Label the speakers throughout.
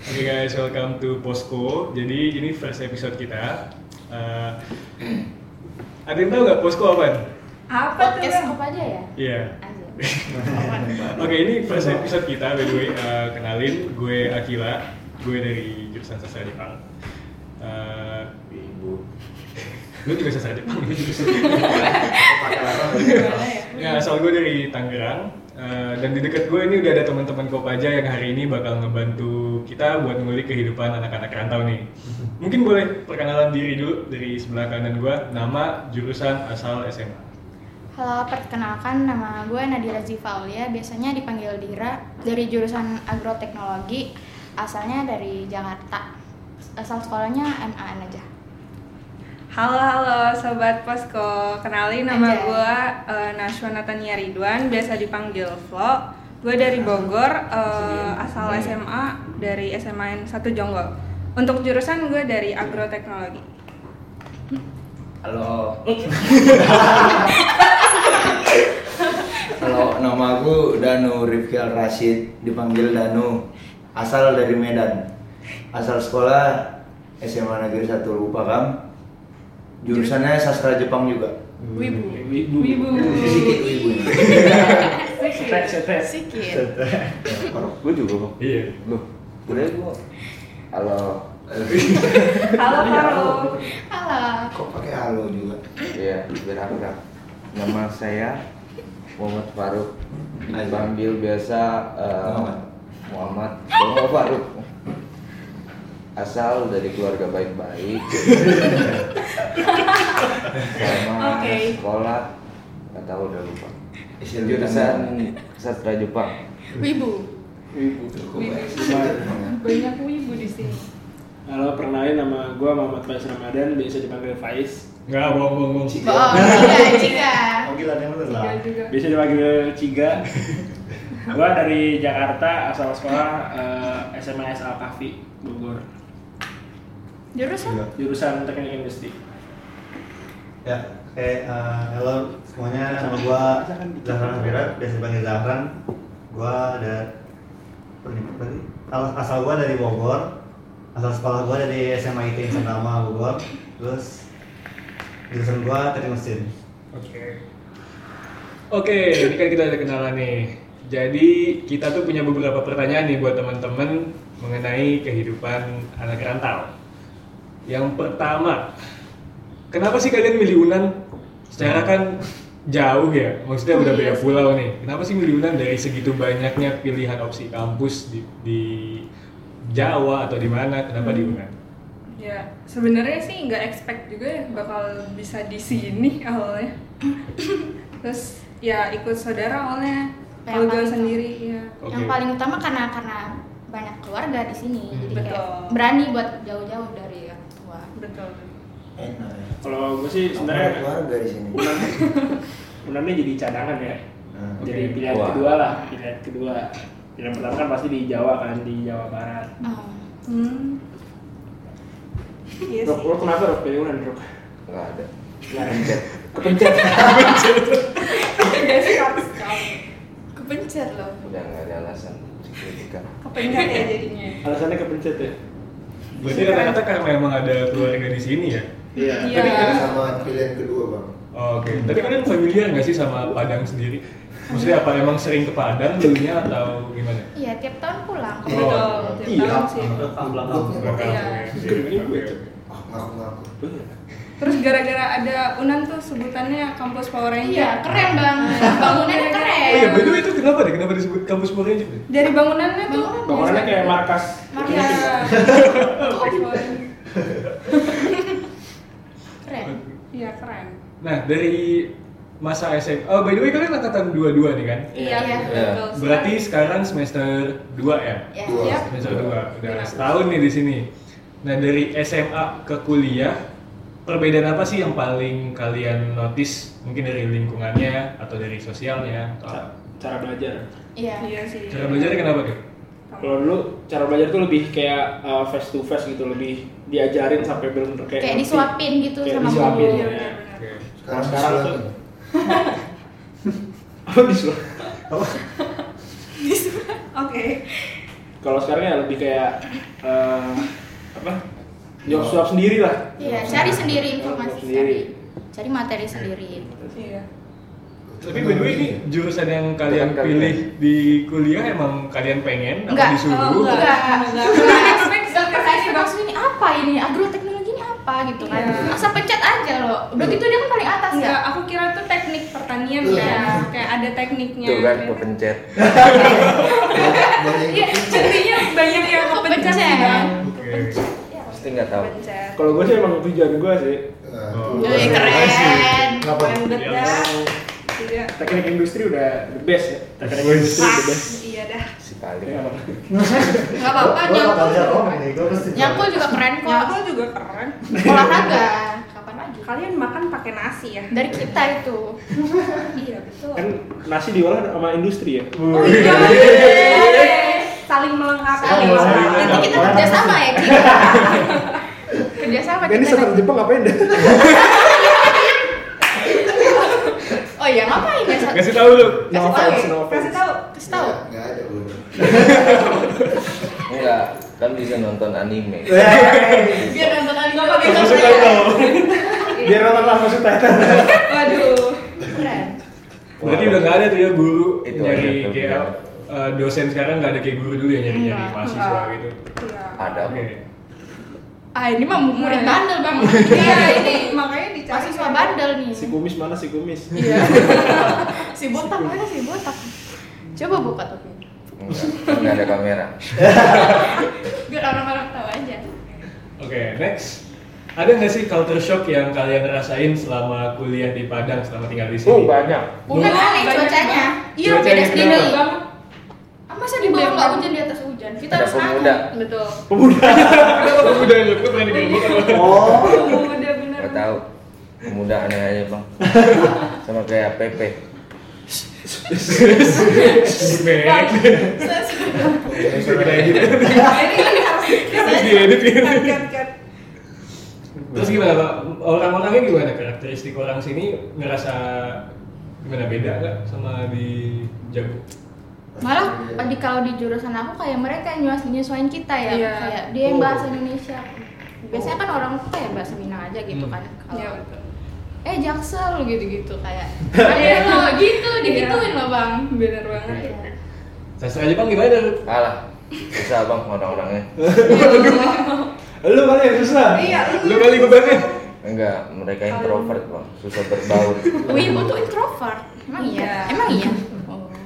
Speaker 1: Oke guys, welcome to Posko. Jadi ini first episode kita. Eh, ada yang tahu nggak Posko apa?
Speaker 2: Apa
Speaker 3: podcast
Speaker 2: tuh?
Speaker 3: apa aja ya?
Speaker 1: Iya.
Speaker 3: Aja.
Speaker 1: Oke, ini first episode kita. By the way, Eh, kenalin gue Akila. Gue dari jurusan sastra Jepang. Eh,
Speaker 4: Ibu.
Speaker 1: lu juga sastra Jepang, ya? lu juga sastra
Speaker 4: Pakai apa?
Speaker 2: Gimana ya?
Speaker 1: Ya, asal gue dari Tangerang eh, dan di dekat gue ini udah ada teman-teman Kopaja yang hari ini bakal ngebantu kita buat ngulik kehidupan anak-anak rantau nih. Mungkin boleh perkenalan diri dulu dari sebelah kanan gue, nama, jurusan, asal SMA.
Speaker 3: Halo, perkenalkan nama gue Nadira Zifaulia, biasanya dipanggil Dira dari jurusan agroteknologi, asalnya dari Jakarta. Asal sekolahnya MAN aja.
Speaker 2: Halo halo sobat Posko, kenalin nama
Speaker 3: Anjay.
Speaker 2: gue uh, Nashwa Natania Ridwan, biasa dipanggil Flo. Gue dari Bogor, eh, asal SMA dari SMAN 1 Jonggol. Untuk jurusan gue dari agroteknologi.
Speaker 4: Halo. Halo, nama aku Danu Rifki Al Rashid, dipanggil Danu. Asal dari Medan. Asal sekolah SMA Negeri 1 lupa kam. Jurusannya sastra Jepang juga.
Speaker 2: Wibu.
Speaker 5: Wibu.
Speaker 2: Wibu.
Speaker 4: Sedikit ibu.
Speaker 5: Setek, setek.
Speaker 3: Sikit.
Speaker 6: gue juga kok
Speaker 1: Iya.
Speaker 6: loh udah gue halo
Speaker 2: Halo halo.
Speaker 3: Halo.
Speaker 4: Kok pakai halo juga?
Speaker 6: iya biar akrab nama saya Muhammad Faruk dipanggil biasa eh,
Speaker 4: Muhammad.
Speaker 6: Muhammad Muhammad Faruk asal dari keluarga baik-baik sama
Speaker 2: Oke.
Speaker 6: sekolah nggak tahu udah lupa
Speaker 4: Isi lebih
Speaker 6: jurusan
Speaker 4: tanda.
Speaker 6: sastra Jepang
Speaker 3: Wibu.
Speaker 5: Wibu.
Speaker 4: Cukup ya, sastra Jepang ya.
Speaker 2: Banyak wibu di sini.
Speaker 5: Halo, perkenalin nama gue Muhammad Faiz Ramadan, biasa dipanggil Faiz.
Speaker 1: Nggak, bohong, bohong, bohong.
Speaker 2: Oh,
Speaker 3: Bohong, jika, jika.
Speaker 4: Panggilannya bener lah.
Speaker 2: Iya juga.
Speaker 5: Biasa dipanggil Ciga. gue dari Jakarta, asal sekolah eh, SMA SL Kafi, Bogor.
Speaker 3: Jurusan?
Speaker 5: Jurusan Teknik Industri.
Speaker 7: Ya, oke, eh, halo semuanya, nama gua Zahran Firat, biasa dipanggil Zahran. Gua ada berarti asal, asal gua dari Bogor, asal sekolah gua dari SMA ITN Sandama Bogor, terus jurusan gua teknik mesin.
Speaker 1: Oke. Oke, ini kan kita ada kenalan nih. Jadi kita tuh punya beberapa pertanyaan nih buat teman-teman mengenai kehidupan anak rantau. Yang pertama, kenapa sih kalian milih Unan? Secara kan jauh ya, maksudnya udah beda pulau nih. Kenapa sih milih Unan dari segitu banyaknya pilihan opsi kampus di, di Jawa atau di mana? Kenapa di Unan?
Speaker 2: Ya, sebenarnya sih nggak expect juga ya bakal bisa di sini awalnya. Terus ya ikut saudara awalnya.
Speaker 3: Kayak
Speaker 2: Kalau gue
Speaker 3: paling-
Speaker 2: sendiri ya.
Speaker 3: Yang paling utama karena karena banyak keluarga di sini,
Speaker 1: Hmm.
Speaker 3: jadi kayak
Speaker 2: Betul.
Speaker 3: berani buat jauh-jauh dari orang tua.
Speaker 2: Betul.
Speaker 4: Enak ya.
Speaker 5: Kalau gue sih
Speaker 4: Kamu ada
Speaker 5: sebenarnya
Speaker 4: keluarga di sini.
Speaker 5: sebenarnya jadi cadangan ya.
Speaker 4: Nah.
Speaker 5: Jadi
Speaker 1: Oke.
Speaker 5: pilihan
Speaker 6: Wah.
Speaker 5: kedua lah, pilihan kedua. Pilihan pertama kan pasti di Jawa kan, di Jawa Barat.
Speaker 3: Oh.
Speaker 2: Hmm. Iya
Speaker 5: Rok,
Speaker 2: sih.
Speaker 5: lo kenapa Rok? Pilih Unan, Rok.
Speaker 6: nggak ada
Speaker 5: Nah,
Speaker 6: kepencet
Speaker 2: Iya sih harus tahu.
Speaker 3: Kepencet loh.
Speaker 6: udah nggak ada alasan signifikan
Speaker 2: Kepencet ya jadinya.
Speaker 5: alasannya kepencet ya?
Speaker 1: Berarti kata-kata karena memang ada keluarga di sini ya?
Speaker 5: Iya.
Speaker 2: Iya.
Speaker 4: Sama pilihan kedua bang.
Speaker 1: Oke, tapi kalian familiar nggak sih sama Padang sendiri? Maksudnya apa emang sering ke Padang dulunya atau gimana?
Speaker 3: Iya, tiap tahun pulang.
Speaker 2: Betul.
Speaker 1: Oh.
Speaker 2: Tiap
Speaker 4: Iya.
Speaker 2: tahun sih. Iya.
Speaker 4: Ngaku-ngaku.
Speaker 2: Terus gara-gara ada Unan tuh sebutannya kampus Power Ranger.
Speaker 3: Iya, keren banget. Bangunannya
Speaker 1: Oh
Speaker 3: keren.
Speaker 1: iya, by the way itu kenapa deh? Kenapa disebut kampus Power Ranger? deh?
Speaker 2: Dari bangunannya tuh.
Speaker 5: Bangunannya kayak markas.
Speaker 2: Iya.
Speaker 3: Markas.
Speaker 2: Kampus Power Ranger.
Speaker 3: Keren.
Speaker 2: Iya keren.
Speaker 1: Nah, dari masa SMA, oh by the way kalian angkatan dua-dua nih kan?
Speaker 2: Iya,
Speaker 3: Iya.
Speaker 2: betul.
Speaker 1: Berarti sekarang semester 2 ya?
Speaker 3: Ya,
Speaker 4: Dua.
Speaker 2: Iya.
Speaker 1: Semester 2, udah
Speaker 2: Iya.
Speaker 1: setahun nih di sini. Nah, dari SMA ke kuliah, perbedaan apa sih yang paling kalian notice? Mungkin dari lingkungannya, atau dari sosialnya, atau apa?
Speaker 5: Ca- Cara belajar.
Speaker 3: Iya.
Speaker 2: Iya sih.
Speaker 1: Cara belajar kenapa tuh?
Speaker 5: Kalau dulu cara belajar tuh lebih kayak uh, face to face gitu, lebih diajarin sampai belum kayak
Speaker 3: Kayak
Speaker 5: ngerti.
Speaker 3: disuapin gitu
Speaker 5: Kayak
Speaker 3: sama
Speaker 2: Iya,
Speaker 5: disuapin,
Speaker 3: guru.
Speaker 1: Iya.
Speaker 5: ya.
Speaker 1: Oke.
Speaker 4: Sekarang
Speaker 5: Sekarang
Speaker 4: sekolah
Speaker 5: tuh.
Speaker 4: tuh.
Speaker 5: Apa disuapin?
Speaker 2: Oke.
Speaker 5: Kalau sekarang ya lebih kayak eh, apa? Job job sendiri lah.
Speaker 3: Iya, cari sendiri informasi
Speaker 5: Job sendiri.
Speaker 3: sendiri. Cari materi sendiri.
Speaker 2: Iya.
Speaker 1: Tapi by the way ini jurusan yang kalian
Speaker 6: Bukan kalian.
Speaker 1: pilih di kuliah emang kalian pengen atau
Speaker 3: Enggak.
Speaker 1: disuruh?
Speaker 2: Oh, enggak.
Speaker 3: Enggak expect enggak pernah ini maksudnya ini apa ini? Agroteknologi ini apa gitu kan.
Speaker 2: Iya.
Speaker 3: Masa pencet aja loh. Udah gitu dia kan paling atas ya.
Speaker 2: Enggak, aku kira tuh teknik pertanian
Speaker 4: Iya.
Speaker 2: ya, kayak ada tekniknya.
Speaker 6: Tuh kan
Speaker 2: Kayak-
Speaker 6: kepencet.
Speaker 4: Boleh
Speaker 2: Iya, jadinya banyak yang kepencet sih Bang.
Speaker 1: Oke.
Speaker 6: Pasti nggak tahu.
Speaker 2: Kepencet.
Speaker 5: Kalau gue sih emang tujuan gue sih
Speaker 1: Oh.
Speaker 3: Eh, keren.
Speaker 4: Kenapa?
Speaker 1: Iya.
Speaker 2: Keren bedah. Iya.
Speaker 5: teknik industri udah the best ya. Teknik
Speaker 1: Wih.
Speaker 5: industri
Speaker 2: Ah,
Speaker 5: the best.
Speaker 2: iya dah.
Speaker 6: Si paling.
Speaker 5: Ya, apa?
Speaker 3: Enggak apa-apa,
Speaker 7: Gua nggak
Speaker 3: nyangkul
Speaker 7: belajar
Speaker 3: juga
Speaker 7: ngomong
Speaker 3: keren.
Speaker 7: nih, gua pasti
Speaker 3: Nyangkul juga keren kok.
Speaker 2: Nyangkul juga keren.
Speaker 3: Olahraga. Kapan lagi?
Speaker 2: Kalian makan pakai nasi ya?
Speaker 3: Dari kita itu.
Speaker 2: Iya, betul.
Speaker 5: Kan nasi diolah sama industri ya.
Speaker 2: Oh iya. Saling melengkapi.
Speaker 5: Iya,
Speaker 2: kan-
Speaker 7: Saling melengkapi.
Speaker 3: Nanti kita
Speaker 7: Orang
Speaker 3: kerja
Speaker 7: sih.
Speaker 3: sama ya kita. kerja sama
Speaker 5: Ini
Speaker 3: kita.
Speaker 5: setelah Jepang ngapain deh?
Speaker 3: Oh iya ngapain ya? Sat?
Speaker 1: Kasih tahu lu.
Speaker 5: No
Speaker 3: Kasih tahu
Speaker 5: offense,
Speaker 3: ya?
Speaker 5: no
Speaker 2: Kasih
Speaker 5: offense.
Speaker 2: tahu.
Speaker 3: Kasih tahu.
Speaker 4: Enggak ada Bu.
Speaker 6: Enggak, kan bisa nonton anime.
Speaker 7: Iya,
Speaker 3: Biar nonton anime pakai
Speaker 1: Masuk
Speaker 3: kosmetik.
Speaker 5: Biar nonton lah maksud Titan.
Speaker 2: Waduh.
Speaker 3: Keren.
Speaker 1: Berarti udah nggak ada tuh ya guru
Speaker 6: Itu
Speaker 1: nyari
Speaker 6: aja, itu
Speaker 1: kayak
Speaker 6: benar.
Speaker 1: eh, dosen sekarang nggak ada kayak guru dulu ya nyari nyari
Speaker 3: Enggak,
Speaker 1: mahasiswa
Speaker 2: enggak.
Speaker 1: gitu.
Speaker 2: Iya.
Speaker 6: Ada
Speaker 1: Oke.
Speaker 3: Ah ini mah murid
Speaker 2: Nah.
Speaker 3: bandel bang.
Speaker 2: Iya, ini makanya dicari.
Speaker 3: Mahasiswa bandel nih.
Speaker 5: Si kumis mana si kumis?
Speaker 3: Iya. Si botak mana si botak? Coba buka tapi.
Speaker 6: Enggak, enggak ada kamera.
Speaker 3: Biar orang-orang tahu aja.
Speaker 1: Oke next. Ada nggak sih culture shock yang kalian rasain selama kuliah di Padang selama tinggal di
Speaker 5: Oh,
Speaker 1: sini?
Speaker 6: banyak.
Speaker 3: Udah kali
Speaker 2: banyak
Speaker 3: cuacanya.
Speaker 2: banget.
Speaker 3: Iya
Speaker 1: Cuacanya
Speaker 3: beda
Speaker 1: kenapa?
Speaker 3: sendiri. Ah, masa di bawah nggak hujan di atas hujan? Kita
Speaker 6: Ada
Speaker 3: harus nahan.
Speaker 6: pemuda.
Speaker 3: Betul.
Speaker 1: Udah lu gue pengen diganggu.
Speaker 5: Oh,
Speaker 2: Udah bener.
Speaker 6: Enggak tahu. Pemuda aneh aja, Bang. Sama kayak Pepe.
Speaker 1: Feedback.
Speaker 5: Iya,
Speaker 1: Bisa kita edit. Terus
Speaker 2: Ini
Speaker 1: diedit gitu.
Speaker 2: harus cut-cut.
Speaker 1: Terus gimana Pak? Orang-orangnya gimana? Karakteristik orang sini ngerasa gimana beda nggak sama di Jago?
Speaker 3: Malah
Speaker 4: Iya.
Speaker 3: di kalau di jurusan aku kayak mereka yang nyuas nyesuain kita ya.
Speaker 2: Iya.
Speaker 3: Kayak dia yang
Speaker 1: Oh.
Speaker 3: bahasa Indonesia. Biasanya kan orang tuh kayak bahasa Minang aja gitu
Speaker 1: Hmm.
Speaker 3: kan. Kalau
Speaker 2: Iya, betul.
Speaker 3: eh jaksel gitu-gitu kayak. Ada lo gitu digituin loh bang.
Speaker 2: Bener banget.
Speaker 1: Sastra Jepang gimana? Lu?
Speaker 6: Kalah. Susah, Bang, orang-orangnya.
Speaker 5: lu kali yang susah.
Speaker 2: Iya,
Speaker 1: Lu kali gue banget.
Speaker 6: Enggak, mereka introvert, Bang. Susah berbaur.
Speaker 3: Wih, tuh introvert. Emang iya?
Speaker 2: Iya.
Speaker 3: Emang iya?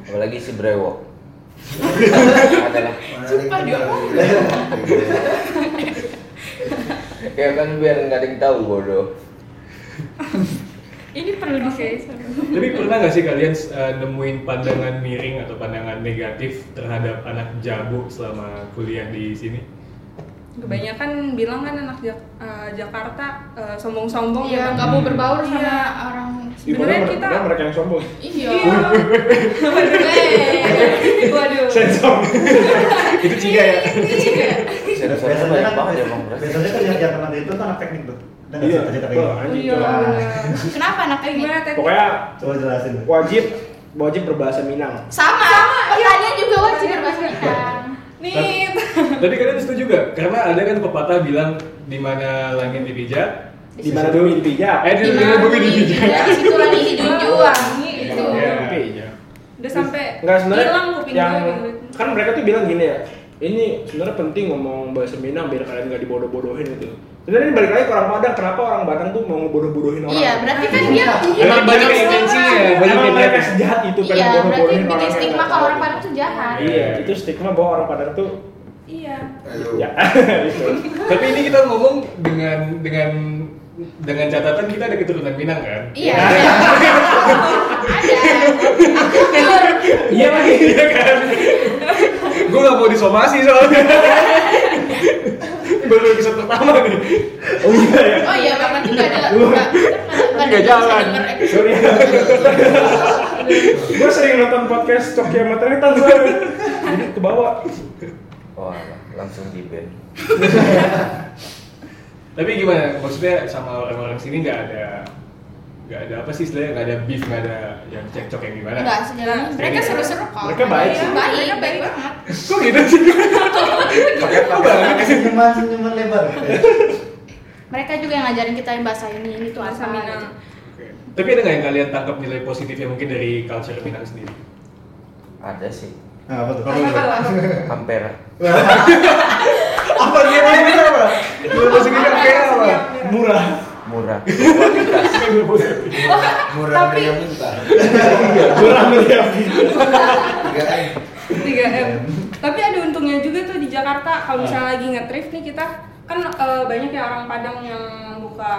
Speaker 6: Apalagi si Brewo. Adalah
Speaker 3: Sumpah, dia
Speaker 4: Iya,
Speaker 6: ya kan biar nggak ada yang tahu bodoh.
Speaker 3: Ini perlu di
Speaker 2: Oke.
Speaker 1: Tapi pernah nggak sih kalian eh, nemuin pandangan miring atau pandangan negatif terhadap anak Jago selama kuliah di sini?
Speaker 2: Kebanyakan bilang kan anak Jak- eh, Jakarta eh, sombong-sombong ya.
Speaker 3: Iya, nggak mau berbaur sama
Speaker 2: Iya.
Speaker 3: orang
Speaker 5: Di mana
Speaker 2: Sebenarnya
Speaker 5: mer-
Speaker 2: kita-
Speaker 5: mana mereka yang sombong?
Speaker 3: Iya.
Speaker 2: Waduh. Waduh.
Speaker 1: Itu Ciga ya?
Speaker 6: Serius-serius
Speaker 7: Biasanya
Speaker 6: banyak
Speaker 7: kan,
Speaker 6: banget ya bang Pras.
Speaker 7: biasanya kan yang yang kena itu kan anak teknik tuh. Ada nggak
Speaker 5: Iya,
Speaker 7: sih cerita kayak
Speaker 1: Oh,
Speaker 5: wah,
Speaker 7: gitu?
Speaker 5: anjing.
Speaker 2: Iya.
Speaker 7: Wah.
Speaker 2: bener.
Speaker 3: Kenapa anak
Speaker 2: Eh,
Speaker 3: ini?
Speaker 2: gimana Ted?
Speaker 5: Pokoknya
Speaker 7: Coba jelasin. tuh.
Speaker 5: wajib wajib berbahasa Minang.
Speaker 3: Sama. Iya. Pertanyaan juga wajib kan? berbahasa Minang.
Speaker 2: Nih.
Speaker 1: Tapi kalian setuju nggak? Karena ada kan pepatah bilang di mana langit dipijak,
Speaker 5: Di mana dulu intinya?
Speaker 1: eh di mana bumi dipijak.
Speaker 3: Iya, situ lagi dijujuang gitu.
Speaker 1: Iya.
Speaker 5: Iya.
Speaker 2: Udah sampai
Speaker 5: Enggak sebenarnya
Speaker 2: hilang gitu. kuping
Speaker 5: yang
Speaker 2: gue dengerin.
Speaker 5: kan mereka tuh bilang gini ya. Ini sebenarnya penting ngomong bahasa Minang biar kalian nggak dibodoh-bodohin gitu. Sebenarnya ini balik lagi ke orang Padang, kenapa orang Padang tuh mau ngebodoh-bodohin orang? Eh,
Speaker 3: Iya, berarti kan dia
Speaker 1: Emang banyak yang
Speaker 3: ya?
Speaker 1: intensinya, banyak
Speaker 5: Emang
Speaker 1: yang
Speaker 5: mereka
Speaker 1: negatif.
Speaker 5: sejahat itu kan
Speaker 3: Iya, berarti
Speaker 5: bodoh-bodohin orang.
Speaker 3: bikin
Speaker 5: yang
Speaker 3: stigma kalau
Speaker 5: nggak tahu
Speaker 3: orang
Speaker 5: gitu.
Speaker 3: Padang tuh jahat.
Speaker 5: Iya, itu stigma bahwa orang Padang tuh
Speaker 2: Iya.
Speaker 4: Ayo.
Speaker 5: ya gitu.
Speaker 1: Tapi ini kita ngomong dengan dengan dengan catatan kita ada keturunan Minang kan?
Speaker 3: Iya. Ada. Aku pure.
Speaker 1: Iya lagi, iya kan? Gue gak mau disomasi soalnya Baru episode pertama nih
Speaker 5: Oh iya ya.
Speaker 3: Oh iya, Bang nanti enggak ada enggak
Speaker 5: Nggak jalan. Sorry. gue sering nonton podcast Coki sama Tritan soalnya. Jadi ke bawah.
Speaker 6: Wah, langsung di band.
Speaker 1: Tapi gimana? Maksudnya sama orang-orang sini gak ada nggak ada apa sih istilahnya nggak ada beef nggak ada yang cekcok yang gimana
Speaker 3: Enggak, sejauh
Speaker 2: Nah,
Speaker 3: ini mereka
Speaker 1: Jadi-
Speaker 3: seru-seru kok.
Speaker 5: Mereka baik
Speaker 3: Iya,
Speaker 5: sih.
Speaker 3: Baik, mereka baik banget.
Speaker 1: kok gitu sih kok banget
Speaker 7: senyuman senyuman lebar gitu ya.
Speaker 3: Mereka juga yang ngajarin kita bahasa ini, ini tuh
Speaker 2: Bahasa
Speaker 3: apa.
Speaker 2: Minang.
Speaker 3: gitu.
Speaker 1: Oke. tapi ada nggak yang kalian tangkap nilai positifnya mungkin dari culture Minang sendiri
Speaker 6: Ada sih.
Speaker 7: Nah, apa tuh?
Speaker 2: Apa kalau
Speaker 6: Ampera.
Speaker 7: apa dia mau bilang apa? Dia mau segini
Speaker 2: Iya,
Speaker 7: apa? Murah.
Speaker 6: Murah. Kualitas.
Speaker 4: murah
Speaker 2: tapi-
Speaker 4: dari yang minta
Speaker 3: Iya,
Speaker 5: Murah meriah.
Speaker 4: tiga m
Speaker 2: 3M. Tapi ada untungnya juga tuh di Jakarta kalau misalnya lagi nge-thrift nih kita kan eh, banyak ya orang Padang yang buka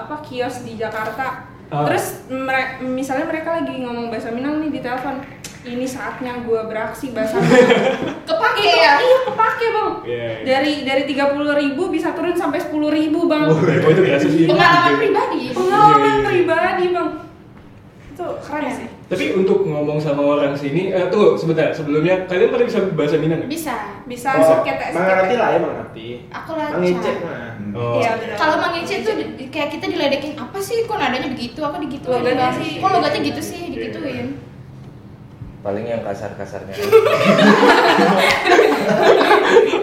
Speaker 2: apa kios di Jakarta.
Speaker 1: Ah.
Speaker 2: Terus mere- misalnya mereka lagi ngomong bahasa Minang nih di telepon, ini saatnya gua beraksi bahasa Minang.
Speaker 3: Kepake
Speaker 2: Itu-
Speaker 3: ya.
Speaker 2: Iya, kepake, Bang.
Speaker 1: Iya, iya.
Speaker 2: Dari dari 30.000 bisa turun sampai 10.000, Bang.
Speaker 1: oh itu berasa sih
Speaker 3: Pengalaman pribadi.
Speaker 2: Pengalaman
Speaker 1: Iya, iya.
Speaker 2: pribadi, Bang. Itu keren sih.
Speaker 1: tapi untuk ngomong sama orang sini eh, tunggu sebentar sebelumnya kalian pada bisa bahasa Minang nggak?
Speaker 3: Bisa.
Speaker 2: Bisa
Speaker 5: Oh,
Speaker 2: sekete
Speaker 5: Mengerti lah ya mengerti.
Speaker 3: Aku lah.
Speaker 5: Mengecek nah.
Speaker 3: Chan.
Speaker 5: mah.
Speaker 1: oh
Speaker 2: Iya, benar.
Speaker 3: Kalau mengecek tuh di- kayak kita diledekin apa sih kok nadanya begitu aku digituin
Speaker 2: Logatnya
Speaker 3: Bang?
Speaker 2: sih.
Speaker 3: kok logatnya gitu sih digituin
Speaker 6: Paling yang kasar-kasarnya.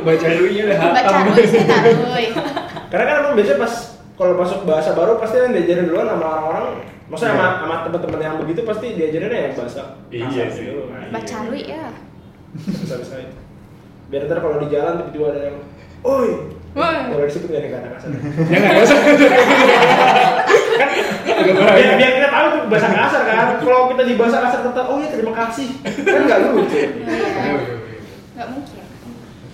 Speaker 1: baca ya, dulunya
Speaker 5: Iya.
Speaker 1: lah
Speaker 3: baca
Speaker 1: hatam
Speaker 3: dulu sih taruh iya.
Speaker 5: Karena kan emang biasanya pas kalau masuk bahasa baru pasti yang diajarin duluan sama orang-orang Maksudnya sama, sama teman-teman yang begitu pasti diajarinnya ya bahasa
Speaker 1: Iya
Speaker 5: kasar
Speaker 1: sih.
Speaker 5: dulu. Nah, iya.
Speaker 3: baca dulu ya
Speaker 5: Bisa-bisa itu. Biar ntar kalau di jalan tiba-tiba ada yang Oi,
Speaker 2: Wah.
Speaker 5: kalau disebut gak ada kata kasar
Speaker 1: jangan Ya nggak usah Agak bahaya.
Speaker 5: biar, biar kita tahu tuh bahasa kasar kan Kalau kita di bahasa kasar tetap, oh iya terima kasih Kan gak lucu
Speaker 1: Iya, iya, iya.
Speaker 3: nggak mungkin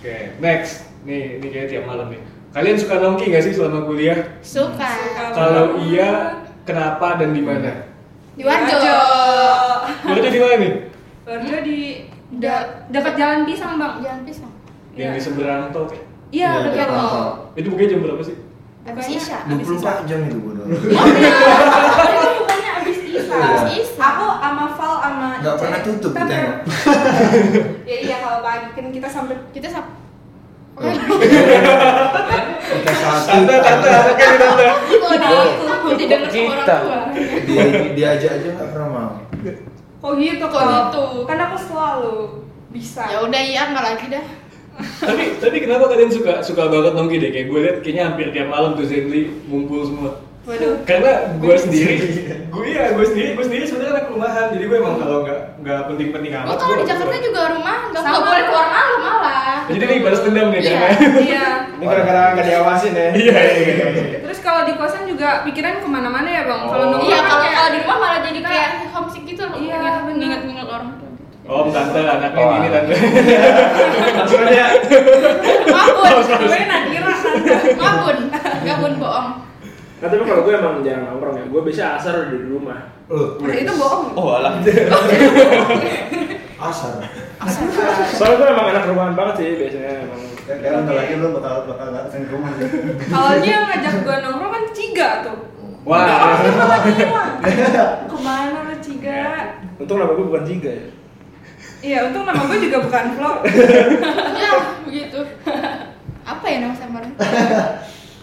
Speaker 1: oke next nih ini kayaknya tiap malam nih kalian suka nongki nggak sih selama kuliah
Speaker 3: suka
Speaker 1: kalau iya kenapa dan di mana
Speaker 3: di warjo
Speaker 1: berarti di mana nih
Speaker 2: Warjo di
Speaker 3: Da-
Speaker 2: dekat jalan pisang bang.
Speaker 3: jangan pisang
Speaker 1: yang di
Speaker 2: Iya.
Speaker 1: seberang tol kayak.
Speaker 2: Iya dekat
Speaker 4: Iya,
Speaker 2: tol.
Speaker 1: itu mungkin jam berapa sih
Speaker 3: abis
Speaker 2: Pokoknya-
Speaker 3: isya
Speaker 4: dua puluh jam itu bodoh
Speaker 3: Iya.
Speaker 2: Itu bukannya abis isa.
Speaker 4: Abis
Speaker 3: Isa.
Speaker 2: Aku sama Val sama.
Speaker 4: nggak
Speaker 2: Ica.
Speaker 4: pernah tutup
Speaker 2: Kita
Speaker 4: kita
Speaker 2: pernah- Ya iya kalau pagi kan kita sampai
Speaker 3: kita sab-
Speaker 5: Iya.
Speaker 4: kita satu
Speaker 1: tante tante anak kan tante
Speaker 3: Takut,
Speaker 2: Iya.
Speaker 3: takut didengar sama
Speaker 6: Kita.
Speaker 3: orang tua
Speaker 4: dia diajak aja nggak pernah mau
Speaker 2: Oh gitu kok.
Speaker 3: gitu.
Speaker 2: Kan aku selalu bisa.
Speaker 3: ya udah iya apa lagi dah
Speaker 1: tapi tapi kenapa kalian suka suka banget nongki deh kayak gue liat kayaknya hampir tiap malam tuh Zendli ngumpul semua
Speaker 2: Waduh.
Speaker 1: karena gue sendiri gue ya gue sendiri gue sendiri sebenarnya anak rumahan jadi gue emang kalau nggak nggak penting penting amat
Speaker 3: oh
Speaker 1: gue
Speaker 3: kalau di
Speaker 1: nggak
Speaker 3: Jakarta
Speaker 1: keluar.
Speaker 3: juga rumah nggak
Speaker 2: Sama.
Speaker 3: nggak boleh keluar malam malah
Speaker 1: jadi nih balas dendam nih
Speaker 3: Iya.
Speaker 1: karena
Speaker 2: Iya.
Speaker 5: Ini gara-gara gak diawasin ya
Speaker 1: iya iya iya.
Speaker 2: Terus kalau di kosan juga pikiran kemana-mana ya bang. Kalau
Speaker 1: Oh.
Speaker 2: nongkrong
Speaker 3: iya
Speaker 2: kan
Speaker 3: kalau
Speaker 2: kayak-
Speaker 3: kalau di rumah malah jadi kayak homesick gitu loh
Speaker 2: Iya,
Speaker 3: Ingat-
Speaker 2: bener.
Speaker 3: ingat-ingat orang tua gitu.
Speaker 1: om Oh, tante anaknya
Speaker 6: Wah.
Speaker 1: gini tante
Speaker 5: Langsung aja
Speaker 3: Mabun,
Speaker 2: Gue Nadira kan.
Speaker 3: mabun, mabun bohong.
Speaker 5: Nah tapi kalau gue emang jarang nongkrong ya Gue biasa asar di rumah
Speaker 4: loh
Speaker 2: Udah, Nah, Itu bohong.
Speaker 6: Oh alah.
Speaker 4: asar
Speaker 5: Soalnya gue emang anak rumahan banget sih biasanya emang
Speaker 7: Dan Sekarang ntar lagi lu bakal bakal nggak sering ke rumah sih.
Speaker 2: Awalnya yang ngajak gue nongkrong kan Ciga tuh.
Speaker 1: Wah.
Speaker 2: Udah, aku malah hilang. Kemana lo Ciga?
Speaker 5: Untung nama gue bukan Jiga ya
Speaker 2: Iya, untung nama gue juga bukan Flo.
Speaker 3: Ya, begitu. Apa ya nama samaran?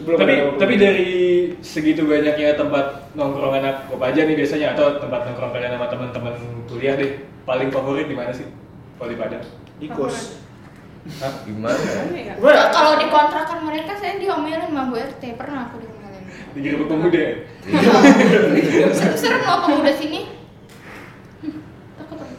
Speaker 5: Belum
Speaker 1: tapi
Speaker 5: ada nama
Speaker 1: tapi
Speaker 5: gue.
Speaker 1: dari segitu banyaknya tempat nongkrong anak kopaja nih biasanya atau tempat nongkrong kalian sama teman-teman kuliah deh paling favorit di mana sih kalau di Padang
Speaker 5: Di kos
Speaker 6: Gimana?
Speaker 2: Mana ya?
Speaker 5: Gue
Speaker 3: Kalau di kontrakan mereka saya diomelin sama Bu RT, pernah aku diomelin.
Speaker 1: di Gerbek Pemuda
Speaker 3: Serem-serem loh pemuda sini. Takut aku.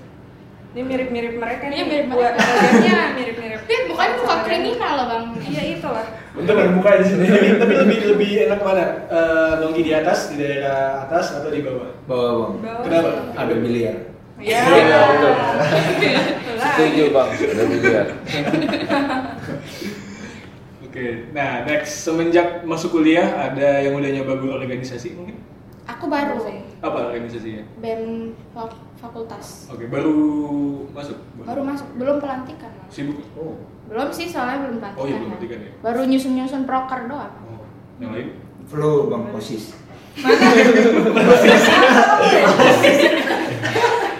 Speaker 2: Ini mirip-mirip mereka nih.
Speaker 3: Iya, mirip
Speaker 2: Buat
Speaker 3: mereka. Iya,
Speaker 2: wajahnya mirip-mirip.
Speaker 3: Lihat bukan bukan
Speaker 2: Sama
Speaker 3: kriminal loh Bang.
Speaker 2: mereka. Iya, itulah.
Speaker 5: Untung ada muka di sini
Speaker 1: tapi, tapi lebih lebih enak mana Eh, nongki di atas di daerah atas atau di bawah
Speaker 4: bawa bang
Speaker 2: Bawah.
Speaker 1: kenapa
Speaker 4: ada biliar
Speaker 2: Iya.
Speaker 6: Iya, betul.
Speaker 2: Itulah.
Speaker 6: Setuju bang. Udah dilihat.
Speaker 1: oke nah next semenjak masuk kuliah ada yang udah nyoba guru organisasi mungkin
Speaker 3: Aku baru
Speaker 1: apa organisasinya
Speaker 3: BEM fak- fakultas.
Speaker 1: oke baru masuk
Speaker 3: Baru masuk, belum pelantikan. Bang.
Speaker 1: sibuk
Speaker 4: oh
Speaker 3: Belum sih soalnya belum pelantikan.
Speaker 1: Oh iya, belum
Speaker 3: Bang.
Speaker 1: pelantikan ya.
Speaker 3: Baru nyusun-nyusun proker doang.
Speaker 1: oh yang lain
Speaker 4: flu bang osis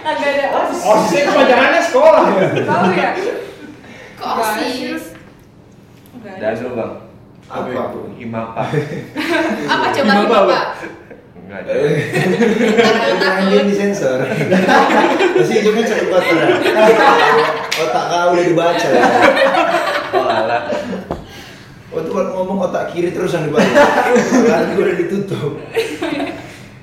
Speaker 2: Agak ada osis.
Speaker 5: Oh sih kepanjangannya sekolah ya
Speaker 2: Tahu ya?
Speaker 3: Kok
Speaker 2: Nggak
Speaker 3: sih?
Speaker 2: Nggak ada.
Speaker 6: Dan lu bang.
Speaker 4: apa
Speaker 6: Imapa.
Speaker 3: Apa coba
Speaker 1: Iya. Gimana, Iya,
Speaker 3: lupa,
Speaker 1: Bang?
Speaker 3: Pak?
Speaker 6: belajar.
Speaker 4: Itu anjing disensor. Masih hidupnya cukup kotor. ya? Otak kau udah dibaca. Ya?
Speaker 6: Oh alah.
Speaker 4: Oh tuh kalau ngomong otak kiri terus yang dibaca. Karena gue udah ditutup.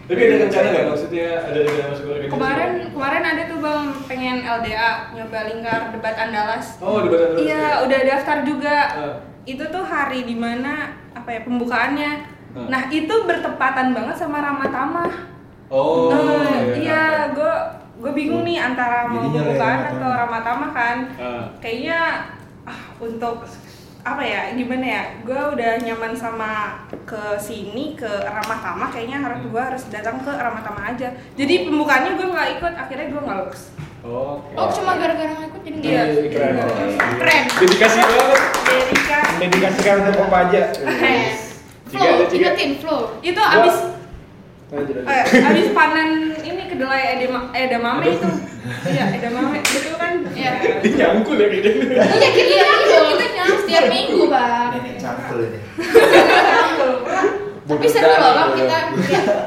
Speaker 1: Tapi ada rencana nggak maksudnya ada rencana masuk ke organisasi?
Speaker 2: Kemarin kemarin ada tuh bang pengen LDA nyoba lingkar debat Andalas.
Speaker 1: Oh, debat Andalas.
Speaker 2: Iya udah daftar juga.
Speaker 1: Eh.
Speaker 2: Itu tuh hari dimana apa ya pembukaannya.
Speaker 1: Eh.
Speaker 2: Nah itu bertepatan banget sama Ramatamah.
Speaker 1: Oh,
Speaker 2: Eh, iya gue gue bingung nih antara mau
Speaker 4: Jadinya
Speaker 2: pembukaan
Speaker 4: Ramatamah.
Speaker 2: atau Ramatamah kan.
Speaker 1: Eh.
Speaker 2: Kayaknya ah, untuk apa ya gimana ya gue udah nyaman sama ke sini ke Ramatama kayaknya harus gue harus datang ke Ramatama aja jadi pembukaannya gue nggak ikut akhirnya gue nggak lulus
Speaker 1: Oke.
Speaker 3: Oh, cuma gara-gara ngikut jadi
Speaker 2: Iya.
Speaker 3: nggak
Speaker 5: Keren.
Speaker 2: keren
Speaker 1: Dedikasi banget.
Speaker 2: Jadi kan
Speaker 5: Dedikasikan untuk apa aja?
Speaker 3: Keren.
Speaker 1: Tiga,
Speaker 3: Flow,
Speaker 1: ada tiga.
Speaker 3: ingetin flow.
Speaker 2: itu abis
Speaker 5: Nah, jadi-
Speaker 2: eh, abis panen ini kedelai edema, edamame itu iya edamame betul kan
Speaker 3: Iya.
Speaker 1: Nyangkul ya gitu.
Speaker 3: Iya, gitu ya, kita nyam setiap minggu, Bang.
Speaker 4: Nenek cangkul ini.
Speaker 2: Iya.
Speaker 3: Tapi seru loh, Bang, kita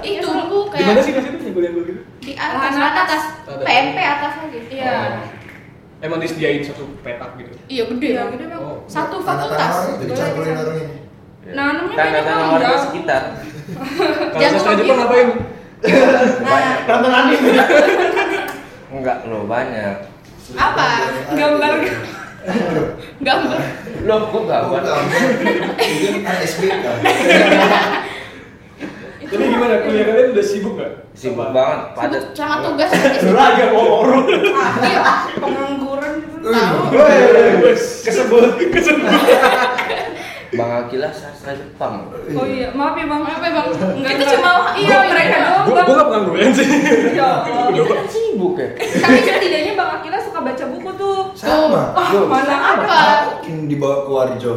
Speaker 3: ih tunggu
Speaker 1: Di mana
Speaker 3: kayak
Speaker 1: sih kasih itu nyangkul-nyangkul gitu?
Speaker 3: di Iya, atas,
Speaker 2: Lahan atas.
Speaker 3: atas, PMP atas lagi.
Speaker 2: iya
Speaker 1: Oh. Emang disediain satu petak gitu.
Speaker 3: Iya, gede.
Speaker 2: Iya,
Speaker 3: Bang.
Speaker 2: gede, Bang.
Speaker 1: Oh.
Speaker 3: Satu
Speaker 4: Tanah-tanah
Speaker 3: fakultas.
Speaker 4: orang itu dicangkulin orang ini.
Speaker 2: Nah, namanya
Speaker 6: Tanda-tanda
Speaker 2: banyak
Speaker 6: warga
Speaker 2: orang
Speaker 6: sekitar.
Speaker 1: Kalau sastra Jepang
Speaker 2: gitu.
Speaker 1: ngapain?
Speaker 2: nah
Speaker 7: Nonton anime.
Speaker 6: Enggak loh banyak.
Speaker 3: Apa?
Speaker 2: Gambar.
Speaker 3: Gambar.
Speaker 6: Loh kok enggak
Speaker 4: Oh,
Speaker 6: buat?
Speaker 4: Mungkin SBK.
Speaker 1: Tapi gimana? Kuliah kalian udah sibuk nggak?
Speaker 6: Sibuk
Speaker 1: Apa?
Speaker 6: banget, padat.
Speaker 3: Sibuk
Speaker 1: Oh.
Speaker 3: sama tugas Iya.
Speaker 1: Seragam orang.
Speaker 2: iya pengangguran gitu
Speaker 3: Tahu.
Speaker 1: Kesebut, kesebut.
Speaker 6: Bang Akila sastra Jepang.
Speaker 2: oh iya maaf ya bang apa ya bang Nggak,
Speaker 3: Kita
Speaker 2: nggak.
Speaker 3: cuma iya mereka doang.
Speaker 1: Gue gue nggak pengangguran sih.
Speaker 2: ya Allah.
Speaker 6: Itu kan sibuk ya.
Speaker 2: tapi setidaknya bang Akila suka baca buku tuh
Speaker 4: Sama.
Speaker 2: ah mana ada
Speaker 4: Mungkin dibawa ke Warjo.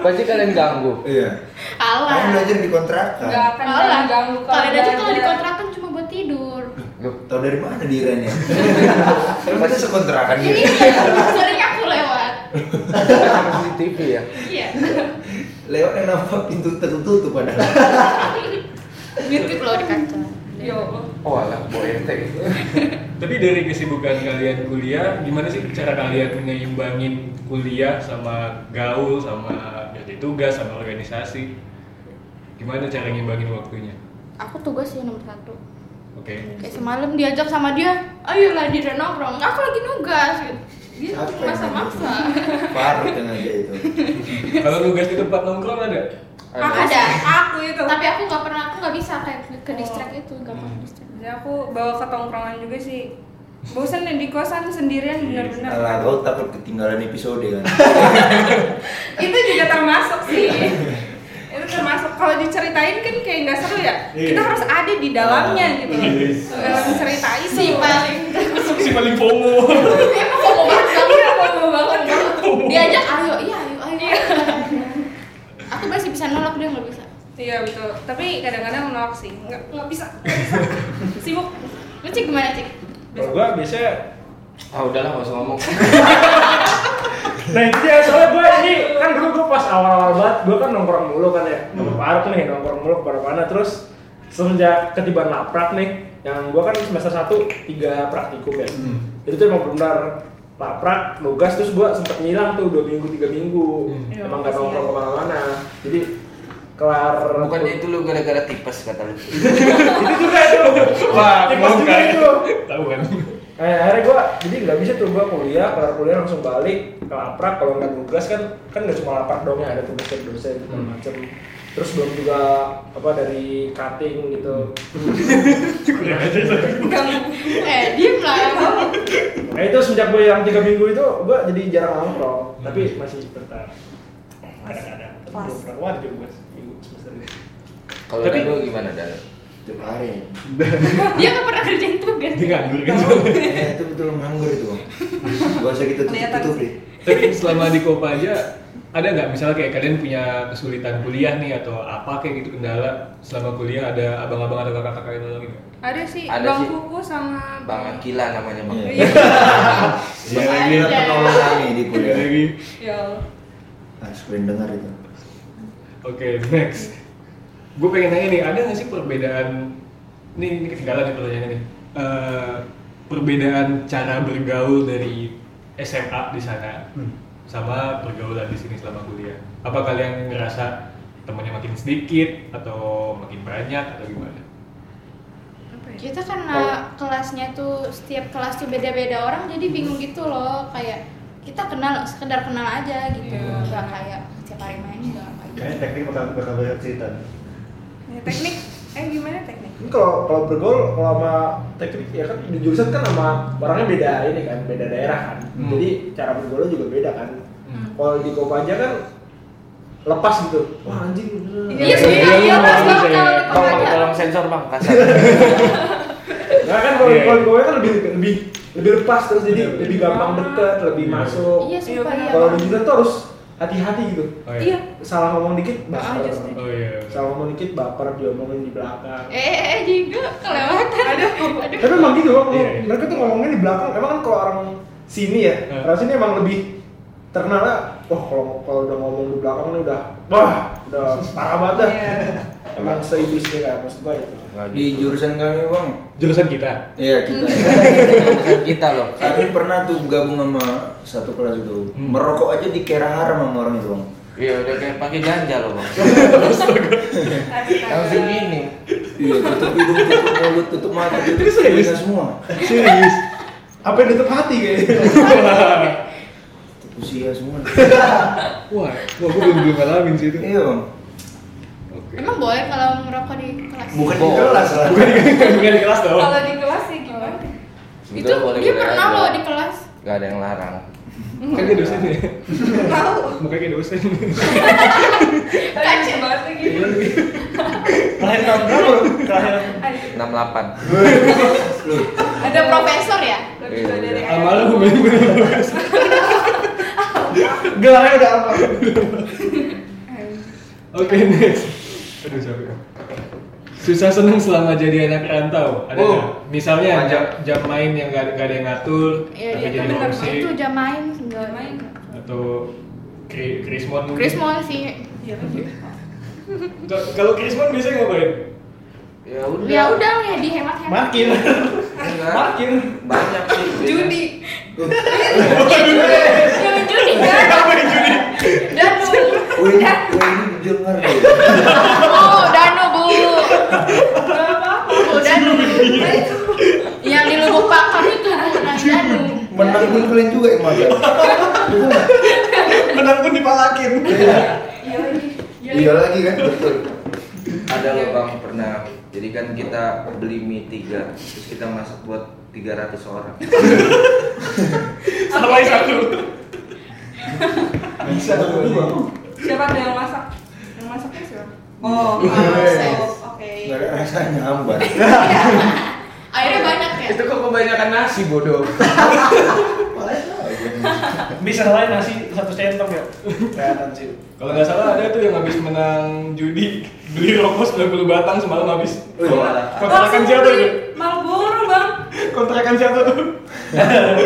Speaker 6: Pasti kalian ganggu.
Speaker 4: Iya.
Speaker 3: Kalah.
Speaker 4: Kamu belajar di kontrakan.
Speaker 2: nggak akan
Speaker 3: Kalah.
Speaker 2: ganggu
Speaker 3: Kalian aja Kan kalau
Speaker 2: ada-
Speaker 3: dikontrakan cuma buat tidur.
Speaker 6: Loh,
Speaker 4: Tahu dari mana di Iran ya? Emang kita sekontrakan
Speaker 3: Iya,
Speaker 4: gitu.
Speaker 3: sering aku lewat.
Speaker 6: kan di TV ya.
Speaker 3: Iya.
Speaker 4: Lewat yang nampak pintu tertutup padahal.
Speaker 3: Ngintip gitu loh di kaca.
Speaker 2: ya Allah.
Speaker 6: Oh alah, bawa enteng.
Speaker 1: Tapi dari kesibukan kalian kuliah, gimana sih cara kalian ngeimbangin kuliah sama gaul, sama jadi tugas, sama organisasi? Gimana cara ngeimbangin waktunya?
Speaker 3: Aku tugas ya nomor satu.
Speaker 1: Oke.
Speaker 3: Kayak semalam diajak sama dia, ayo lah di nongkrong. Aku lagi nugas gitu. Dia
Speaker 4: Capek.
Speaker 3: masa-masa.
Speaker 4: Parah dengan dia itu.
Speaker 1: Kalau tugas di tempat nongkrong ada?
Speaker 3: Ah,
Speaker 6: Ada.
Speaker 3: ada.
Speaker 2: aku itu
Speaker 3: Tapi aku nggak pernah, aku nggak bisa kayak ke, ke distract itu, nggak pernah
Speaker 1: Hmm.
Speaker 3: distract.
Speaker 2: jadi Ya, aku bawa ke tongkrongan juga sih bosan nih di kosan sendirian
Speaker 4: Alah,
Speaker 2: bener-bener
Speaker 4: kau takut ketinggalan episode kan?
Speaker 2: itu juga termasuk sih itu termasuk kalau diceritain kan kayak nggak seru ya kita harus ada di dalamnya gitu dalam cerita itu
Speaker 3: Si paling
Speaker 1: Si paling FOMO.
Speaker 3: emang mau banget,
Speaker 2: iya mau banget
Speaker 3: diajak ayo, iya ayo, ayo. ayo. aku masih bisa nolak dia nggak bisa.
Speaker 2: iya betul tapi kadang-kadang nolak sih nggak nggak bisa nggak bisa sibuk
Speaker 3: Lu cik gimana cik?
Speaker 5: Kalau gua biasanya
Speaker 6: Ah udahlah nggak usah ngomong.
Speaker 5: Nah itu dia soalnya gue ini kan dulu gue pas awal-awal banget gue kan nongkrong mulu kan ya
Speaker 2: Hmm.
Speaker 5: nongkrong parah tuh nih nongkrong mulu kemana-mana terus semenjak ketibaan laprak nih yang gue kan semester 1 tiga praktikum ya
Speaker 2: Hmm.
Speaker 5: itu tuh emang benar laprak nugas terus gue sempet ngilang tuh dua minggu tiga minggu
Speaker 2: Hmm.
Speaker 5: emang
Speaker 2: Iya,
Speaker 5: gak
Speaker 2: kasihan.
Speaker 5: nongkrong kemana-mana jadi kelar
Speaker 6: Bukan itu lu gara-gara tipes kata lu.
Speaker 5: itu juga itu
Speaker 1: Wah,
Speaker 5: Tipes
Speaker 1: mau
Speaker 5: juga
Speaker 1: kan?
Speaker 5: itu
Speaker 1: Tahu kan?
Speaker 5: Eh, akhirnya gue jadi nggak bisa tuh gue kuliah, kelar kuliah langsung balik ke laprak. Kalau nggak tugas kan kan nggak cuma laprak dong ya ada tugas dari dosen segala
Speaker 1: Hmm.
Speaker 5: macem. Terus belum juga apa dari cutting gitu.
Speaker 1: Kuliah aja satu.
Speaker 3: Eh, diem lah emang.
Speaker 5: Nah itu sejak gue yang tiga minggu itu gue jadi jarang nongkrong, tapi masih bertahan. Kadang-kadang. Tapi
Speaker 2: Pas.
Speaker 5: belum pernah keluar juga gue seminggu semester ini.
Speaker 6: Kalau
Speaker 5: Tapi-
Speaker 6: lu gimana Dan?
Speaker 4: Tiap hari.
Speaker 3: Dia nggak pernah kerjain tugas.
Speaker 1: Dia nganggur kan?
Speaker 4: Eh, itu betul nganggur itu bang. Gak usah kita tutup
Speaker 2: Kelihatan
Speaker 4: tutup
Speaker 2: sih.
Speaker 4: deh.
Speaker 1: Tapi selama di Kopa aja ada nggak misalnya kayak kalian punya kesulitan kuliah nih atau apa kayak gitu kendala selama kuliah ada abang-abang atau kakak-kakak yang nolongin nggak?
Speaker 2: ada sih
Speaker 6: Ada
Speaker 2: bang
Speaker 6: sih.
Speaker 2: kuku sama
Speaker 6: Bang Akila namanya Bang.
Speaker 4: Iya.
Speaker 2: Iya.
Speaker 4: Dia lagi
Speaker 3: Ada.
Speaker 4: penolongan nih di kuliah.
Speaker 1: Lagi.
Speaker 2: ya Allah.
Speaker 4: Harus kalian dengar itu.
Speaker 1: Oke next. Gue pengen nanya nih, ada nggak sih perbedaan ini, ini ketinggalan nih pertanyaannya nih. Eh, perbedaan cara bergaul dari SMA di sana
Speaker 7: Hmm.
Speaker 1: sama pergaulan di sini selama kuliah. Apa kalian ngerasa temennya makin sedikit atau makin banyak atau gimana?
Speaker 2: Apa ya?
Speaker 3: Kita karena kelasnya tuh setiap kelas tuh beda-beda orang jadi bingung gitu loh kayak kita kenal sekedar kenal aja gitu
Speaker 1: Iya.
Speaker 3: nggak kayak setiap hari main nggak kayak
Speaker 7: Kayaknya teknik bakal bakal banyak cerita.
Speaker 2: Ya, teknik eh gimana teknik
Speaker 5: Ini Kan kalau kalau bergaul kalau sama teknik ya kan di jurusan kan sama orangnya beda ini kan beda daerah kan.
Speaker 1: Hmm.
Speaker 5: Jadi cara bergaul juga beda kan.
Speaker 1: Hmm.
Speaker 5: Kalau di Kopaja kan lepas gitu. Wah anjing.
Speaker 3: Iya, soalnya
Speaker 1: Iya,
Speaker 3: iya,
Speaker 1: iya,
Speaker 3: pas
Speaker 1: iya,
Speaker 3: banget
Speaker 1: iya.
Speaker 3: kalau di
Speaker 6: Bang, pakai
Speaker 3: Kopaja.
Speaker 6: tolong sensor bang, kasar.
Speaker 5: Nah kan kalau
Speaker 1: Iya,
Speaker 5: kalau
Speaker 1: iya.
Speaker 5: di Kopaja kan lebih lebih lebih lepas terus jadi
Speaker 1: Bener,
Speaker 5: lebih gampang deket, lebih
Speaker 1: Iya.
Speaker 5: masuk.
Speaker 3: Iya, sumpah
Speaker 2: Iya,
Speaker 3: iya.
Speaker 5: Kalau di jurusan tuh harus hati-hati gitu.
Speaker 1: Oh,
Speaker 2: iya
Speaker 5: Salah ngomong dikit
Speaker 2: Ah,
Speaker 5: baper.
Speaker 2: just-
Speaker 1: Oh iya.
Speaker 5: Salah ngomong dikit baper diomongin di belakang.
Speaker 3: Eh, eh, eh, juga kelewatan. Aduh, aduh.
Speaker 5: Tapi emang gitu, Bang.
Speaker 1: Iya, iya.
Speaker 5: mereka tuh ngomongnya di belakang. Emang kan kalau orang sini ya,
Speaker 1: Iya.
Speaker 5: orang sini emang lebih terkenalnya, wah kalau kalau udah ngomong di belakang ini udah, wah udah parah banget dah.
Speaker 2: Iya.
Speaker 5: Emang seiblisnya kayak maksud gua itu.
Speaker 6: Nggak
Speaker 4: Di
Speaker 6: gitu.
Speaker 4: jurusan kami bang,
Speaker 1: Jurusan kita.
Speaker 4: iya kita.
Speaker 6: Jurusan kita loh.
Speaker 4: Kami pernah tuh gabung sama satu kelas itu,
Speaker 1: Hmm.
Speaker 4: merokok aja di kera haram sama orang itu bang.
Speaker 6: Iya udah kayak pakai ganja loh bang. Langsung
Speaker 2: Astaga.
Speaker 6: gini.
Speaker 4: Iya tutup hidung, tutup mulut, tutup mata, tutup
Speaker 5: Ini serius?
Speaker 4: telinga semua.
Speaker 5: Serius. Apa yang ditutup hati kayaknya?
Speaker 4: Tutup usia semua.
Speaker 1: Wah, wah gue belum belum ngalamin sih itu.
Speaker 4: Iya bang.
Speaker 1: Oke.
Speaker 3: Emang boleh kalau ngerokok di kelas?
Speaker 4: Bukan di
Speaker 6: Bo-
Speaker 4: kelas lah.
Speaker 1: Bukan di kelas dong.
Speaker 2: kalau di kelas sih gimana
Speaker 3: Itu dia pernah loh di kelas.
Speaker 6: Gak ada yang larang.
Speaker 1: Kan dia dosen ya.
Speaker 2: tahu
Speaker 1: Mukanya kayak dosen.
Speaker 2: kacau banget gitu. lagi
Speaker 4: Kalian tahun berapa? Kalian
Speaker 2: Ada-
Speaker 6: 68
Speaker 3: Ada profesor ya?
Speaker 2: lebih tua
Speaker 6: Iya,
Speaker 2: dari ayah.
Speaker 1: Amal gue
Speaker 5: Gelarnya udah apa?
Speaker 1: Oke next. Aduh capek. Susah seneng selama jadi anak rantau. Ada
Speaker 6: Oh.
Speaker 1: nggak? Misalnya
Speaker 6: Ada.
Speaker 1: jam, jam main yang gak, ada yang ngatur,
Speaker 3: Iya,
Speaker 1: tapi
Speaker 3: dia
Speaker 1: jadi
Speaker 3: tuh bener
Speaker 1: ngurusik.
Speaker 3: itu jam main enggak
Speaker 2: Gak main
Speaker 1: atau Kri- Krismon. mungkin.
Speaker 3: Krismon sih.
Speaker 2: Iya lagi.
Speaker 1: Ka- Kalau Krismon biasanya ngapain?
Speaker 6: Ya udah.
Speaker 3: Ya udah ya dihemat-hemat.
Speaker 5: Makin.
Speaker 6: Enggak.
Speaker 5: Makin.
Speaker 6: Banyak sih.
Speaker 2: judi
Speaker 3: Iya, Jangan judi kan? Danu.
Speaker 4: Wih, ini- wih, ini dengar deh.
Speaker 3: Oh, Danu Bu. Bu Danu. Yang di lubuk bakar itu Bu Nah, Danu.
Speaker 4: Menang pun kalian juga yang magang.
Speaker 5: Menang pun dipalakin.
Speaker 2: iya lagi
Speaker 4: Iya lagi kan betul.
Speaker 6: Ada loh bang pernah. Jadi kan kita beli mie tiga, terus kita masak buat 300 orang.
Speaker 1: Sampai satu.
Speaker 5: Bisa tuh dua.
Speaker 2: siapa ada yang masak yang masaknya siapa oh
Speaker 4: Yes.
Speaker 2: ah, so, oke
Speaker 4: Gak ada rasanya hambar.
Speaker 3: Akhirnya banyak ya.
Speaker 6: kok kebanyakan nasi bodoh.
Speaker 5: Bisa lain nasi satu centong ya. Kelihatan sih.
Speaker 1: Kalau nggak salah ada tuh yang habis menang judi beli rokok 90 batang semalam habis.
Speaker 6: Wih, malah.
Speaker 1: Kontrakan siapa itu?
Speaker 2: Malboro bang
Speaker 1: Kontrakan siapa tuh?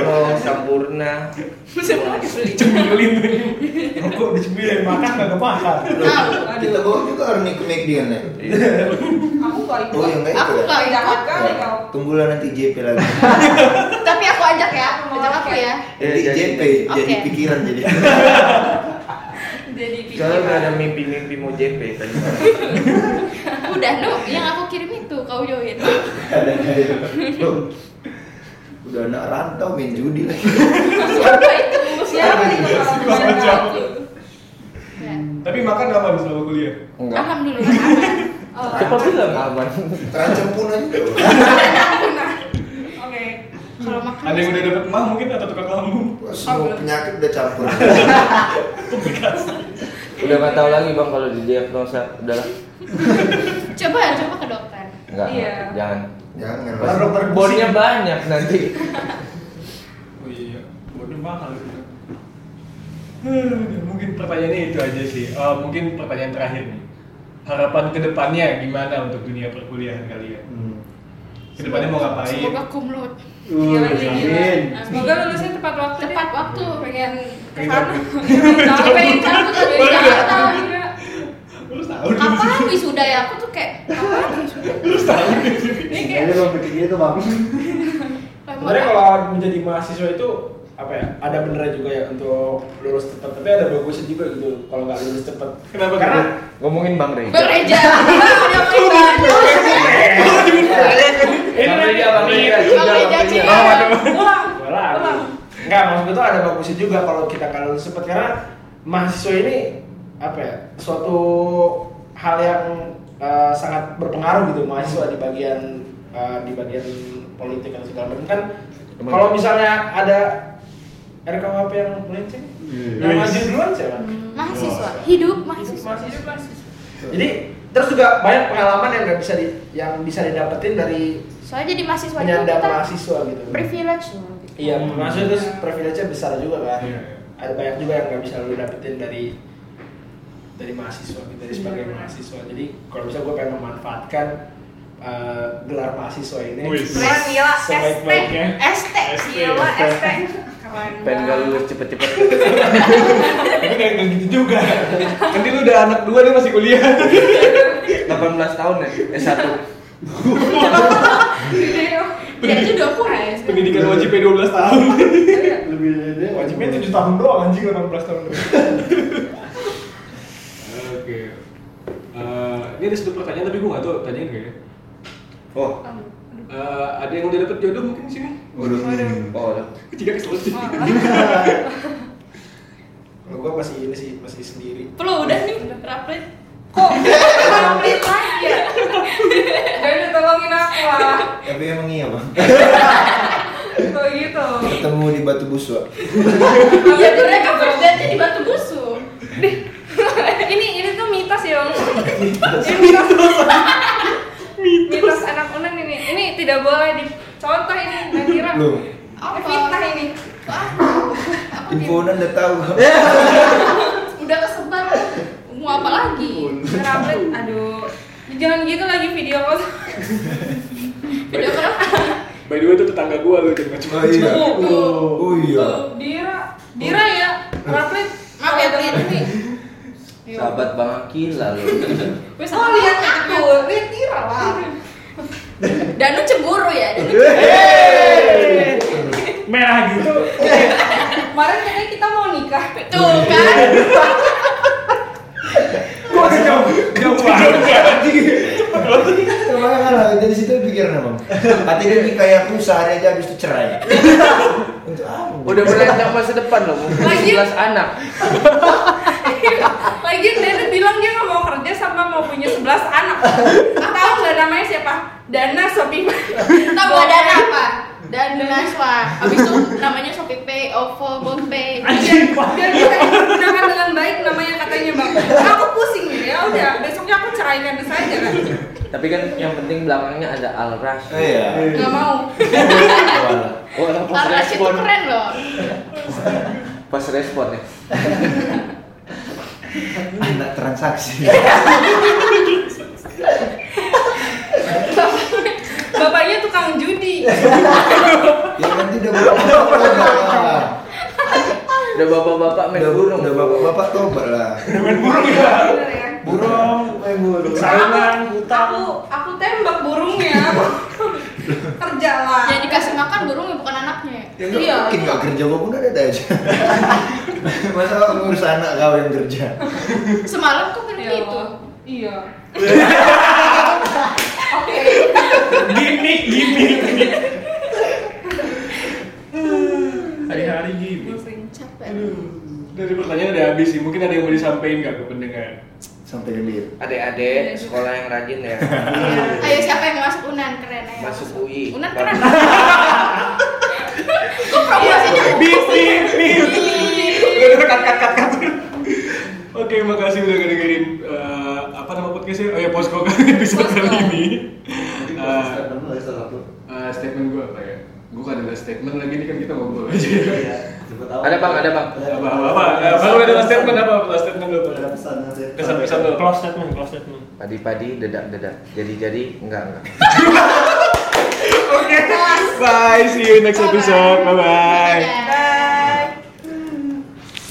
Speaker 6: Oh, sempurna.
Speaker 2: semua dibeli
Speaker 1: Cemilin tuh.
Speaker 5: Rokok dicemilin makan nggak kemakan.
Speaker 3: Tahu.
Speaker 7: Nah,
Speaker 4: Kita bawa juga orang nih ke McD kan ya.
Speaker 7: Iya.
Speaker 2: aku gak ikut
Speaker 6: iya,
Speaker 4: Oh, yang nggak
Speaker 3: Aku
Speaker 4: ikut ya?
Speaker 3: nggak ikut.
Speaker 2: kali kau
Speaker 4: Tunggulah nanti JP lagi.
Speaker 3: Tapi aku ajak ya,
Speaker 2: Mau
Speaker 3: ajak aku
Speaker 2: ajak
Speaker 3: ya.
Speaker 7: Iya,
Speaker 6: Ya,
Speaker 4: Jadi
Speaker 6: jadi-
Speaker 4: JP, jadi
Speaker 3: Oke.
Speaker 4: pikiran jadi.
Speaker 2: jadi
Speaker 6: Soalnya nggak ada
Speaker 2: pikiran
Speaker 6: mimpi-mimpi mau kan. JP tadi.
Speaker 3: Udah nu yang aku kirim itu kau join.
Speaker 4: Ada kayak, "Loh, Udah anak rantau main judi lagi.
Speaker 3: Siapa itu?
Speaker 2: Oh, siapa nih kalau
Speaker 1: Siapa jawab?
Speaker 2: aku
Speaker 3: Ya.
Speaker 1: Tapi makan apa habis selama kuliah?
Speaker 6: Enggak.
Speaker 3: Alhamdulillah aman.
Speaker 2: oh
Speaker 6: Siapa bilang aman?
Speaker 4: Terancam pun aja.
Speaker 2: nah. oke
Speaker 3: Kalau makan
Speaker 1: Ada yang udah dapet mah mungkin atau tukang lambung?
Speaker 4: Semua penyakit udah campur.
Speaker 6: Udah nggak tahu lagi bang kalau didiagnosa. Udahlah.
Speaker 3: coba coba ke dokter.
Speaker 6: Enggak.
Speaker 2: Iya.
Speaker 6: Jangan.
Speaker 4: Jangan
Speaker 5: Baru
Speaker 4: Mas.
Speaker 5: dokter body
Speaker 6: Bonnya banyak nanti.
Speaker 1: Oh iya, bodoh mahal itu. Hmm, mungkin pertanyaannya itu aja sih. Eh, mungkin pertanyaan terakhir nih. Harapan kedepannya gimana untuk dunia perkuliahan kalian?
Speaker 7: Hmm.
Speaker 1: Kedepannya mau ngapain?
Speaker 3: Semoga kumlot.
Speaker 2: Gila, gila, gila.
Speaker 1: amin.
Speaker 2: Iya, Semoga lulusnya tepat waktu. deh.
Speaker 3: Tepat waktu.
Speaker 2: Pengen ke
Speaker 1: Pengen
Speaker 2: sana.
Speaker 1: cabut.
Speaker 2: Pengen cabut.
Speaker 3: Pengen cabut dari
Speaker 1: Boleh
Speaker 3: Jakarta.
Speaker 1: Terus tahu dulu
Speaker 3: Kapan
Speaker 1: sih.
Speaker 3: wisuda ya? Aku tuh
Speaker 7: sendiri tuh bang
Speaker 5: Sebenarnya kalau menjadi mahasiswa itu apa ya ada benernya juga ya untuk lulus cepat tapi ada bagusnya juga gitu kalau nggak lulus cepat
Speaker 1: Kenapa?
Speaker 5: karena
Speaker 6: Ngomongin Bang Reja.
Speaker 3: Bang Reja, Bang udah
Speaker 5: Bang
Speaker 3: mulai
Speaker 5: ini
Speaker 6: Bang
Speaker 5: nanti
Speaker 6: Reja, Bang Reja.
Speaker 3: Bang Reja Cia.
Speaker 2: Pulang.
Speaker 5: Walang.
Speaker 2: Pulang.
Speaker 5: Enggak, maksud itu ada bagusnya juga kalau kita kalau sempat karena mahasiswa ini apa ya? Suatu hal yang eh, sangat berpengaruh gitu mahasiswa di bagian eh, di bagian politik dan segala macam kan
Speaker 6: Emang
Speaker 5: kalau
Speaker 6: iya.
Speaker 5: misalnya ada RKUHP yang melenceng,
Speaker 1: Iya.
Speaker 5: yang maju duluan siapa?
Speaker 3: Mahasiswa, hidup mahasiswa.
Speaker 5: Mahasiswa mahasiswa. Jadi terus juga banyak pengalaman yang nggak bisa di, yang bisa didapetin dari
Speaker 3: Soalnya jadi mahasiswa itu
Speaker 5: penyandang
Speaker 3: kita
Speaker 5: mahasiswa gitu.
Speaker 3: privilege loh. gitu.
Speaker 5: Iya, maksudnya terus privilege-nya besar juga kan.
Speaker 1: Iya, iya.
Speaker 5: Ada banyak juga yang nggak bisa lu dapetin dari dari mahasiswa, gitu, dari sebagai mahasiswa. Jadi kalau bisa gue pengen memanfaatkan eh, gelar mahaswa ini.
Speaker 1: Wih.
Speaker 2: Keren gila, ST.
Speaker 1: Sebaik-baiknya.
Speaker 2: ST.
Speaker 1: ST.
Speaker 2: Gila, ST. Keren.
Speaker 6: Pengen gak lulus cepet-cepet.
Speaker 5: Tapi kayak nggak gitu juga.
Speaker 1: Nanti lu udah anak dua dia masih kuliah.
Speaker 6: 18 tahun ya, S1.
Speaker 2: Iya.
Speaker 3: Dia aja udah kurang.
Speaker 1: Pendidikan wajib 12 tahun.
Speaker 7: lebih gede
Speaker 5: Wajibnya 7 tahun doang anjing 16 tahun doang.
Speaker 1: Oke. Eh, ini ada satu pertanyaan tapi gue gak tau tanyain gak ya.
Speaker 6: Oh,
Speaker 1: Eh, ada yang udah dapet jodoh mungkin di sini?
Speaker 4: Waduh.
Speaker 6: oh.
Speaker 1: Jika keseluruhan.
Speaker 5: Kalau gue masih ini sih, masih sendiri.
Speaker 3: Perlu udah nih, rapet.
Speaker 2: Kok? Komplit lagi ya? Jadi tolongin aku lah.
Speaker 4: Tapi emang iya bang.
Speaker 2: Kok gitu?
Speaker 4: Ketemu di Batu Buswa.
Speaker 3: Iya, mereka first date di batu busuk.
Speaker 2: ini ini tuh mitos ya om ini mitos mitos anak unan ini ini tidak boleh dicontoh ini Nadira
Speaker 4: Loh.
Speaker 2: Ini fitnah ini
Speaker 3: Wah, apa dia?
Speaker 4: Infonan udah tahu.
Speaker 7: Eh,
Speaker 4: Oh,
Speaker 3: Udah kesebar. Mau apa lagi?
Speaker 2: kenapa aduh jangan gitu lagi video call
Speaker 3: Video kenapa?
Speaker 1: By the way itu tetangga gue lu jangan macam
Speaker 4: Oh iya.
Speaker 2: Tuh.
Speaker 4: Oh iya. Oh.
Speaker 2: Tuh, Dira Dira ya Raplit
Speaker 3: Maaf ya, Tin.
Speaker 2: ini
Speaker 6: Sahabat Bang Akila lu.
Speaker 3: Wes,
Speaker 2: oh
Speaker 3: aku
Speaker 2: lihat
Speaker 3: lihat
Speaker 2: aku
Speaker 3: aku.
Speaker 2: lihat Dira lah
Speaker 3: Danu cemburu ya. Danu
Speaker 5: Merah gitu.
Speaker 2: kemarin katanya kita mau nikah
Speaker 3: Tuh kan.
Speaker 5: Gue jauh, jauh banget.
Speaker 4: Coba kan lah, dari situ pikiran bang. Hati dia nih kayak aku sehari aja habis itu cerai. Untuk apa?
Speaker 6: Udah merancang masa depan loh, mungkin
Speaker 2: Lagi.
Speaker 6: 11 anak.
Speaker 2: lagi Dana bilang dia nggak mau kerja sama mau punya 11 anak tahu nggak namanya siapa Dana Sopiman
Speaker 3: Tahu gak ada apa? Dan Naswa. Habis itu namanya Shopee Pay, OVO, GoPay.
Speaker 5: Anjing, Pak.
Speaker 2: biar kita gunakan dengan baik namanya katanya bang aku pusing nih ya udah besoknya aku ceraikan saja kan
Speaker 6: Tapi kan yang penting belakangnya ada Al Rashid.
Speaker 4: Iya.
Speaker 2: nggak mau
Speaker 6: Oh, lah, pas
Speaker 3: Al itu
Speaker 6: respon.
Speaker 3: keren loh.
Speaker 6: Pas respon ya.
Speaker 4: Anak transaksi.
Speaker 2: bapaknya tukang judi
Speaker 4: Ya nanti udah bapak-bapak lah.
Speaker 6: Udah bapak-bapak main
Speaker 4: Udah
Speaker 6: burung.
Speaker 4: udah bapak-bapak tobat lah.
Speaker 5: Main burung ya.
Speaker 2: Bener ya
Speaker 5: Burung, main burung. Sarungan,
Speaker 2: aku,
Speaker 5: hutang.
Speaker 2: aku aku tembak burungnya kerja lah
Speaker 3: Yang Ya, dikasih makan burungnya bukan anaknya.
Speaker 4: Ya nggak mungkin nggak kerja gua pun ada aja. Masa ngurus anak kau yang kerja.
Speaker 3: Semalam tuh kan
Speaker 2: Ya
Speaker 3: gitu.
Speaker 2: Allah. iya oke
Speaker 5: Gimik, gimik. Hari-hari gimik.
Speaker 2: pusing
Speaker 3: Capek.
Speaker 1: Dari pertanyaan udah habis sih. Mungkin ada yang mau disampaikan gak ke pendengar?
Speaker 4: Sampai lihat.
Speaker 6: Adik-adik sekolah yang rajin ya.
Speaker 4: Iya.
Speaker 3: Ayo siapa yang mau masuk Unan keren ayo.
Speaker 6: Masuk UI.
Speaker 3: Unan keren. Kok promosinya
Speaker 1: Iya. Oke, makasih udah ngedengerin eh, apa nama podcastnya? Oh ya, Posko kan episode
Speaker 3: Posko.
Speaker 1: kali ini.
Speaker 7: Mungkin
Speaker 1: Eh,
Speaker 7: proses statement lu ya, salah satu
Speaker 1: eh, statement gue apa ya? Gue kan ada statement lagi ini kan kita ngobrol aja.
Speaker 7: Iya,
Speaker 1: ya.
Speaker 4: Iya.
Speaker 7: Cepet tahu.
Speaker 6: Ada, Bang, ada, Bang.
Speaker 1: apa apa apa? Eh, Baru ada statement apa? Apa statement lu?
Speaker 7: Ada pesan nanti.
Speaker 1: Kesan-kesan lu.
Speaker 5: Close statement, close statement.
Speaker 6: Padi-padi, dedak-dedak. Jadi-jadi, enggak-enggak.
Speaker 1: Oke. Bye, see you next episode. Bye bye.
Speaker 3: Dadah.